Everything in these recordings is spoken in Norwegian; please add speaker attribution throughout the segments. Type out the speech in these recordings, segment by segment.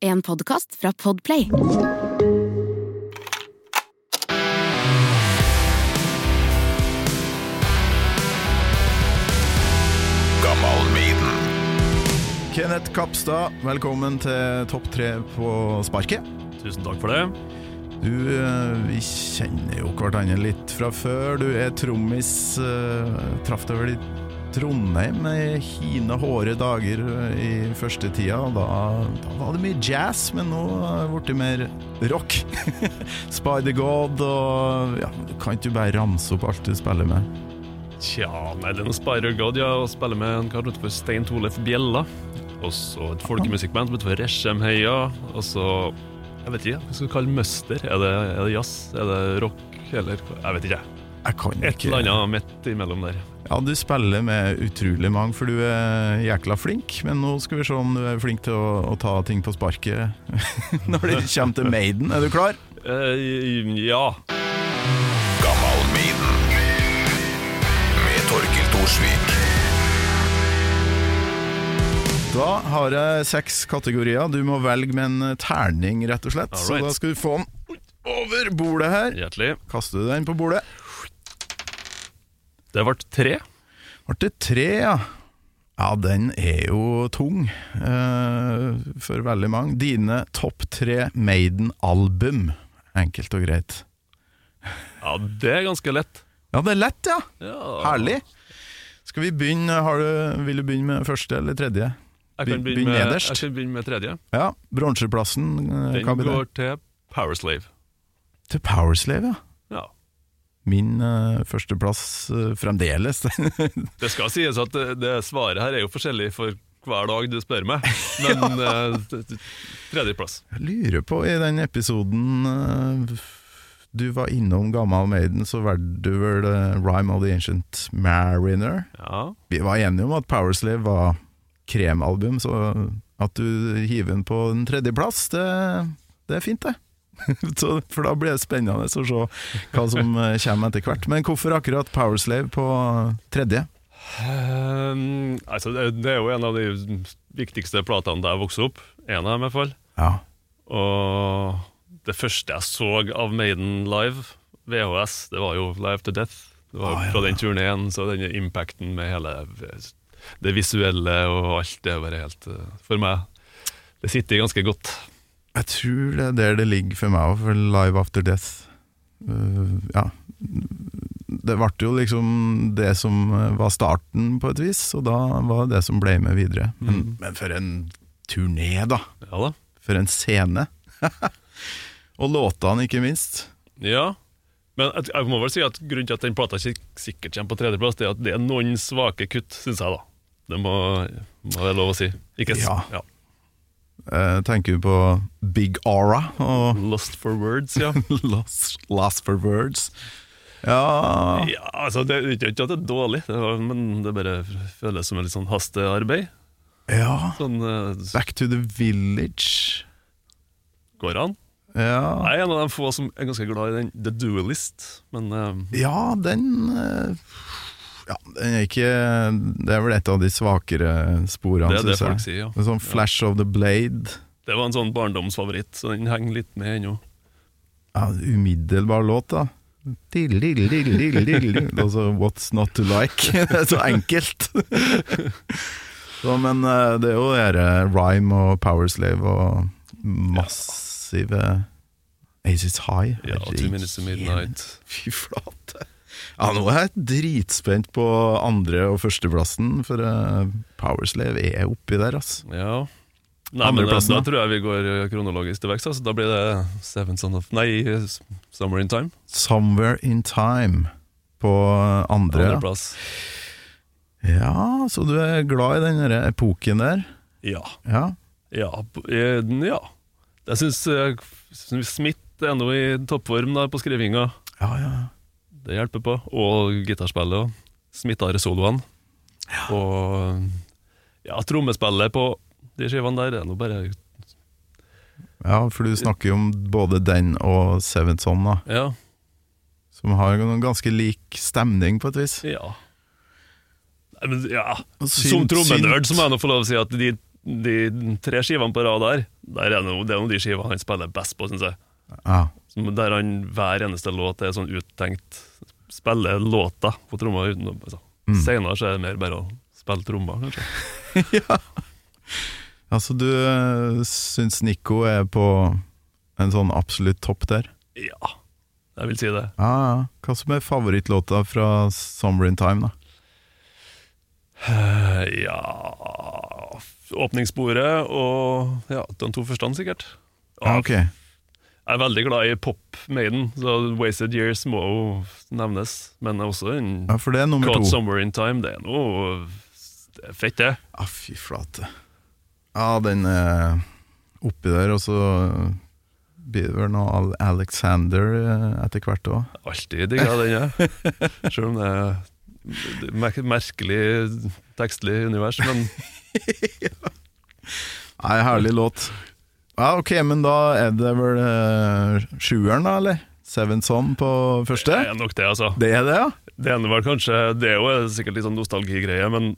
Speaker 1: En podkast fra Podplay.
Speaker 2: Kenneth Kapstad, velkommen til Topp tre på sparket.
Speaker 3: Tusen takk for det.
Speaker 2: Du, eh, vi kjenner jo hverandre litt fra før. Du er trommis. eh, Traff deg vel i Trondheim i hine hårde dager eh, i første tida. og Da, da var det mye jazz, men nå har det blitt mer rock. Spider-God og ja, Kan ikke du bare ramse opp alt du spiller med?
Speaker 3: Tja, nei, det er noe Spider-God ja, å spille med en kar utenfor Stein Torleif Bjella. Og så et folkemusikkband som utenfor Reshemheia. Og så Jeg vet ikke, hva skal vi kalle møster? Er det, er det jazz? Er det rock? Eller hva- Jeg vet ikke.
Speaker 2: Jeg kan ikke
Speaker 3: Et eller annet midt imellom der.
Speaker 2: Ja, du spiller med utrolig mange, for du er jækla flink. Men nå skal vi se om du er flink til å, å ta ting på sparket når det kommer til Maiden. Er du klar?
Speaker 3: Eh, ja.
Speaker 4: Gammal Maiden med Torkil Thorsvik.
Speaker 2: Da har jeg seks kategorier. Du må velge med en terning, rett og slett. Så
Speaker 3: Alright.
Speaker 2: da skal du få den over bordet her.
Speaker 3: Hjertelig.
Speaker 2: Kaster du den på bordet?
Speaker 3: Det ble tre.
Speaker 2: Ble det tre, ja. Ja, den er jo tung eh, for veldig mange. Dine topp tre Maiden-album, enkelt og greit.
Speaker 3: Ja, det er ganske lett.
Speaker 2: Ja, det er lett, ja.
Speaker 3: Ja.
Speaker 2: Herlig. Skal vi begynne, har du, vil du begynne med første eller tredje?
Speaker 3: Jeg kan
Speaker 2: Begynn
Speaker 3: begynne med,
Speaker 2: nederst.
Speaker 3: jeg kan begynne med tredje.
Speaker 2: Ja, bronseplassen. eh,
Speaker 3: Den
Speaker 2: hva blir det?
Speaker 3: går til Powerslave.
Speaker 2: Til Powerslave, ja.
Speaker 3: Ja.
Speaker 2: Min eh, førsteplass eh, fremdeles.
Speaker 3: Det skal sies at det, det svaret her er jo forskjellig for hver dag du spør meg, men eh, t- t- tredjeplass.
Speaker 2: Jeg lurer på, i den episoden eh, du var innom Gammal Maiden, så valgte du vel eh, Rhyme of the Ancient Mariner.
Speaker 3: Ja.
Speaker 2: Vi var enige om at Powerslave var kremalbum, så at du hiver den på en tredjeplass, det, det er fint, det. så, for da blir det spennende å se hva som eh, kommer etter hvert. Men hvorfor akkurat Powerslave på tredje?
Speaker 3: Ehm, altså, det, det er jo en av de viktigste platene da jeg vokste opp. En av dem, i hvert fall.
Speaker 2: Ja.
Speaker 3: Og det første jeg så av Maiden live, VHS, det var jo Live to Death. Det var
Speaker 2: Ah, ja,
Speaker 3: Fra den turneen, så denne impacten med hele det visuelle og alt, det er bare helt eh, For meg, det sitter ganske godt.
Speaker 2: Jeg tror det er der det ligger for meg òg, for Live After Death Eh, Ja. Det ble jo liksom det som eh, var starten, på et vis, og da var det det som ble med videre. Men, men for en turné, da!
Speaker 3: Ja da.
Speaker 2: For en scene! og låtene, ikke minst.
Speaker 3: Ja, men at- jeg må vel si at grunnen til at den plata sik- sikkert kommer på tredjeplass, det er at det er noen svake kutt, syns jeg, da. Det må, må være lov å si. Ikke s-
Speaker 2: Ja.
Speaker 3: ja.
Speaker 2: Eh, tenker du på Big Aura og
Speaker 3: Lost for words, Mm. ja.
Speaker 2: Lost, Lost for Words? Ja
Speaker 3: ja altså, det er ikke ikke at det er dårlig, det var, men det bare føles som et litt sånn hastearbeid.
Speaker 2: Ja
Speaker 3: Sånn eh,
Speaker 2: Back to the Village.
Speaker 3: går an.
Speaker 2: Ja,
Speaker 3: Jeg er en av de få som er ganske glad i den The Duelist, men eh,
Speaker 2: ja den eh, ja, den er ikke Det er vel et av de svakere sporene,
Speaker 3: det er det
Speaker 2: synes jeg.
Speaker 3: folk sier, ja.
Speaker 2: En sånn Flash of the Blade.
Speaker 3: Det var en sånn barndomsfavoritt, så den henger litt med ennå.
Speaker 2: Ja, umiddelbar låt, da. Dill, dill, dill, dill, dill, dill. Altså, what's not to like? Det er så enkelt. Så, men eh, det er jo det her, eh, rhyme og powerslave og massive Aces High.
Speaker 3: Ja, Two Minutes to Midnight.
Speaker 2: Fy flate. Ja, nå er jeg dritspent på andre- og førsteplassen, for eh, Powerslave er oppi der, ass.
Speaker 3: Ja. Nei, men da,
Speaker 2: Andreplassen,
Speaker 3: da
Speaker 2: da?
Speaker 3: tror jeg vi går eh, kronologisk til vekst. Altså. Da blir det Seven Son of Nei, S- Summer in Time.
Speaker 2: 'Somewhere in Time' på eh, andre.
Speaker 3: Andreplass.
Speaker 2: Ja, så du er glad i den der epoken der.
Speaker 3: Ja.
Speaker 2: Ja.
Speaker 3: Ja. b- eh, ja. Jeg eh, syns Smith er nå i toppform da, på skrivinga.
Speaker 2: Ja, ja.
Speaker 3: Det hjelper på. Og gitarspillet òg. Smittar-soloene. Og ja, trommespillet på de skivene der er nå bare
Speaker 2: ja, for du snakker jo om både den og Sevenson, da,
Speaker 3: Ja.
Speaker 2: som har noen ganske lik stemning, på et vis.
Speaker 3: Ja. Nei, men, ja.
Speaker 2: Og
Speaker 3: som
Speaker 2: synt-
Speaker 3: trommenerd
Speaker 2: synt.
Speaker 3: så må jeg nå få lov å si at de de tre skivene på rad der, der er noe, det er noe de skivene han spiller best på, syns jeg.
Speaker 2: Ja.
Speaker 3: Som- Der han hver eneste låt er sånn uttenkt Spiller låta på tromma utenom. Altså.
Speaker 2: Mm.
Speaker 3: Senere så er det mer bare å spille tromma, kanskje.
Speaker 2: Altså, du øh, syns Nico er på en sånn absolutt topp der?
Speaker 3: Ja, jeg vil si det.
Speaker 2: Ja, ja. Hva som er favorittlåta fra Summer in Time, da?
Speaker 3: Eh, Ja Åpningssporet og ja, de to første, sikkert.
Speaker 2: Ja,
Speaker 3: Ja,
Speaker 2: ok.
Speaker 3: Jeg er veldig glad i pop-Maiden, så Wasted Years må jo nevnes. Men også en
Speaker 2: Ja, for det er nummer to.
Speaker 3: Caught Somewhere in Time. Det er noe det er fett, det.
Speaker 2: Ja, Ah, fy flate. Ja, den er oppi der, og så blir det vel noe Al- Alexander eh, etter hvert òg.
Speaker 3: Alltid digga den, jeg. Selv om det er mer merkelig tekstlig univers, men
Speaker 2: Nei, herlig låt. Ja, ok, men da er det vel eh, sjueren, da, eller? Seven Son på
Speaker 3: det
Speaker 2: første?
Speaker 3: er nok det, altså.
Speaker 2: Det er det, ja?
Speaker 3: Det ene var kanskje Det er jo sikkert litt sånn nostalgigreie, men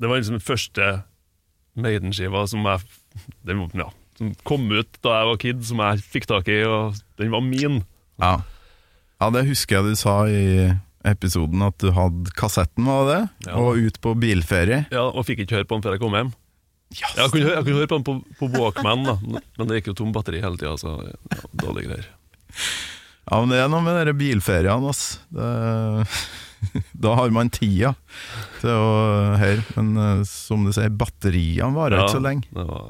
Speaker 3: det var liksom den første Maiden-skiva som jeg den, var- ja, som kom ut da jeg var kid, som jeg fikk tak i, og den var min.
Speaker 2: Ja. ja, det husker jeg du sa i episoden, at du hadde kassetten, var det? det?
Speaker 3: Ja.
Speaker 2: Og ut på bilferie.
Speaker 3: Ja, Og fikk ikke høre på den før jeg kom hjem.
Speaker 2: Yes.
Speaker 3: Jeg kunne, hø- jeg kunne høre på den på, på Walkman, da, men det gikk jo tom batteri hele tida, så ja, dårlige greier.
Speaker 2: Ja, men det er noe med dere bilferiene, ass. Det, da har man tida til å høre, men eh, som du sier, batteriene varer ikke så lenge.
Speaker 3: Det var,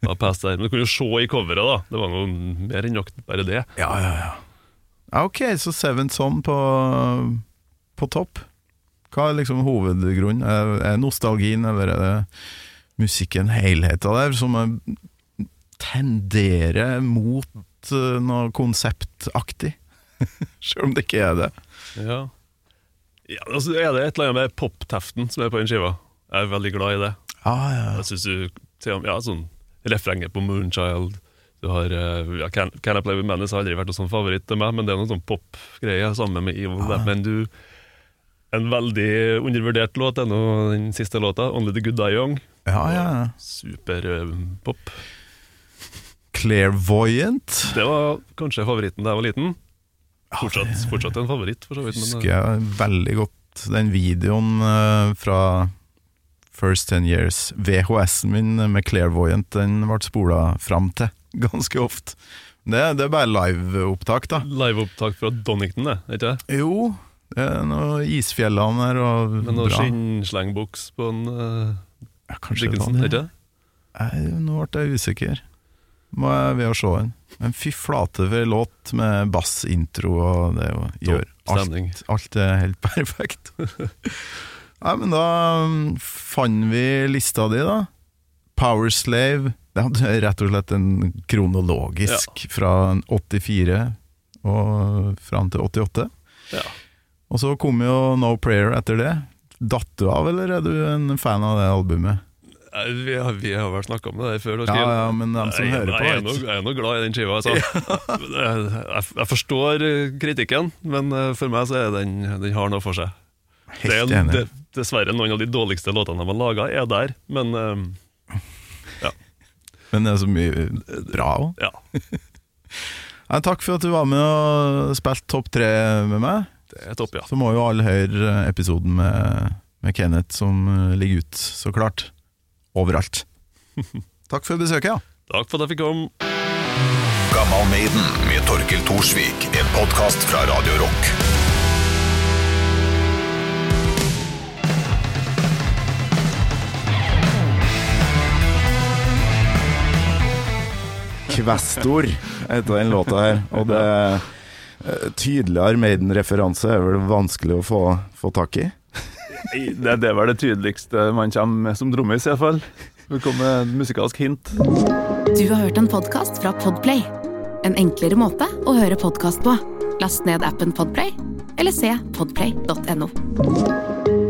Speaker 3: det var pest der. Men du kunne jo se i coveret, da. Det var noe mer enn nok bare det.
Speaker 2: Ja, ja, ja. Ja, ok, så Seven Son på, på topp. Hva er liksom hovedgrunnen? Er, er nostalgien, eller er det musikken helheten der, som eh, tenderer mot eh, noe konseptaktig? Selv om det ikke er det.
Speaker 3: Ja. ja altså, er det et eller annet med popteften som er på den skiva? Jeg er veldig glad i det.
Speaker 2: Ja, ja, ja.
Speaker 3: Jeg synes du til og med- Ja, sånn refrenget på Moonchild Du har eh, ja, Can, Can I Play With Menace har aldri vært noen sånn favoritt til meg, men det er noen sånn popgreier sammen med Evil
Speaker 2: Ah.
Speaker 3: Dead. Men du En veldig undervurdert låt er nå den siste låta, 'Only The Good Die Young'. eh,
Speaker 2: ja, ja. ja.
Speaker 3: Superpop.
Speaker 2: Clairvoyant.
Speaker 3: Det var kanskje favoritten da jeg var liten. Fortsatt, fortsatt en favoritt, for så vidt. Men,
Speaker 2: husker
Speaker 3: eh,
Speaker 2: jeg veldig godt den videoen eh, fra First Ten Years. VHS-en min med Clairvoyant den ble spola fram til ganske ofte. Det, det er bare liveopptak, da.
Speaker 3: eh, Liveopptak fra Donington, det. er Ikke det?
Speaker 2: Jo, det er noe isfjellene her og
Speaker 3: Med noe
Speaker 2: bra.
Speaker 3: skinnslengbuks på en eh,
Speaker 2: Ja, kanskje det var
Speaker 3: Dickinson,
Speaker 2: den,
Speaker 3: er
Speaker 2: ja.
Speaker 3: ikke det?
Speaker 2: Nei, nå ble jeg usikker. Må jeg ved å se den. Men fy flate for en låt med bassintro, og det jo gjør
Speaker 3: Topp stemning.
Speaker 2: alt, alt er helt perfekt. Nei, men da mm, fant vi lista di, da. Powerslave. Det hadde rett og slett en kronologisk fra 84 og fram til 88.
Speaker 3: Ja.
Speaker 2: Og så kom jo No Prayer etter det. Datt du av, eller er du en fan av det albumet?
Speaker 3: Nei, Eh, Vi har, vi har vel snakka om det der før.
Speaker 2: Ja, ja, men dem som
Speaker 3: jeg,
Speaker 2: hører på
Speaker 3: jeg, er
Speaker 2: vet.
Speaker 3: nå- jeg er nå glad i den skiva. Altså. jeg, jeg- jeg forstår eh, kritikken, men eh, for meg så er den, den har noe for seg. Det er,
Speaker 2: Helt enig.
Speaker 3: det- dessverre noen av de dårligste låtene de har laga, er der, men eh,
Speaker 2: Men det er så mye bra òg.
Speaker 3: ja.
Speaker 2: Nei, takk for at du var med og spilte topp tre med meg.
Speaker 3: Det er topp, ja.
Speaker 2: Så må jo alle høre eh, episoden med, med Kenneth som eh, ligger ut, så klart. Overalt. Takk for besøket, ja.
Speaker 3: Takk for at jeg fikk komme.
Speaker 4: Gammal Maiden med Torkil Thorsvik. En podkast fra Radio Rock.
Speaker 2: Kvestor heter den låta her. Og det eh, tydeligere Maiden-referanse er vel vanskelig å få, tak i.
Speaker 5: Det, det var det tydeligste man kommer med som trommis, iallfall. Velkommen med et musikalsk hint.
Speaker 1: Du har hørt en podkast fra Podplay. En enklere måte å høre podkast på. Last ned appen Podplay, eller se podplay.no.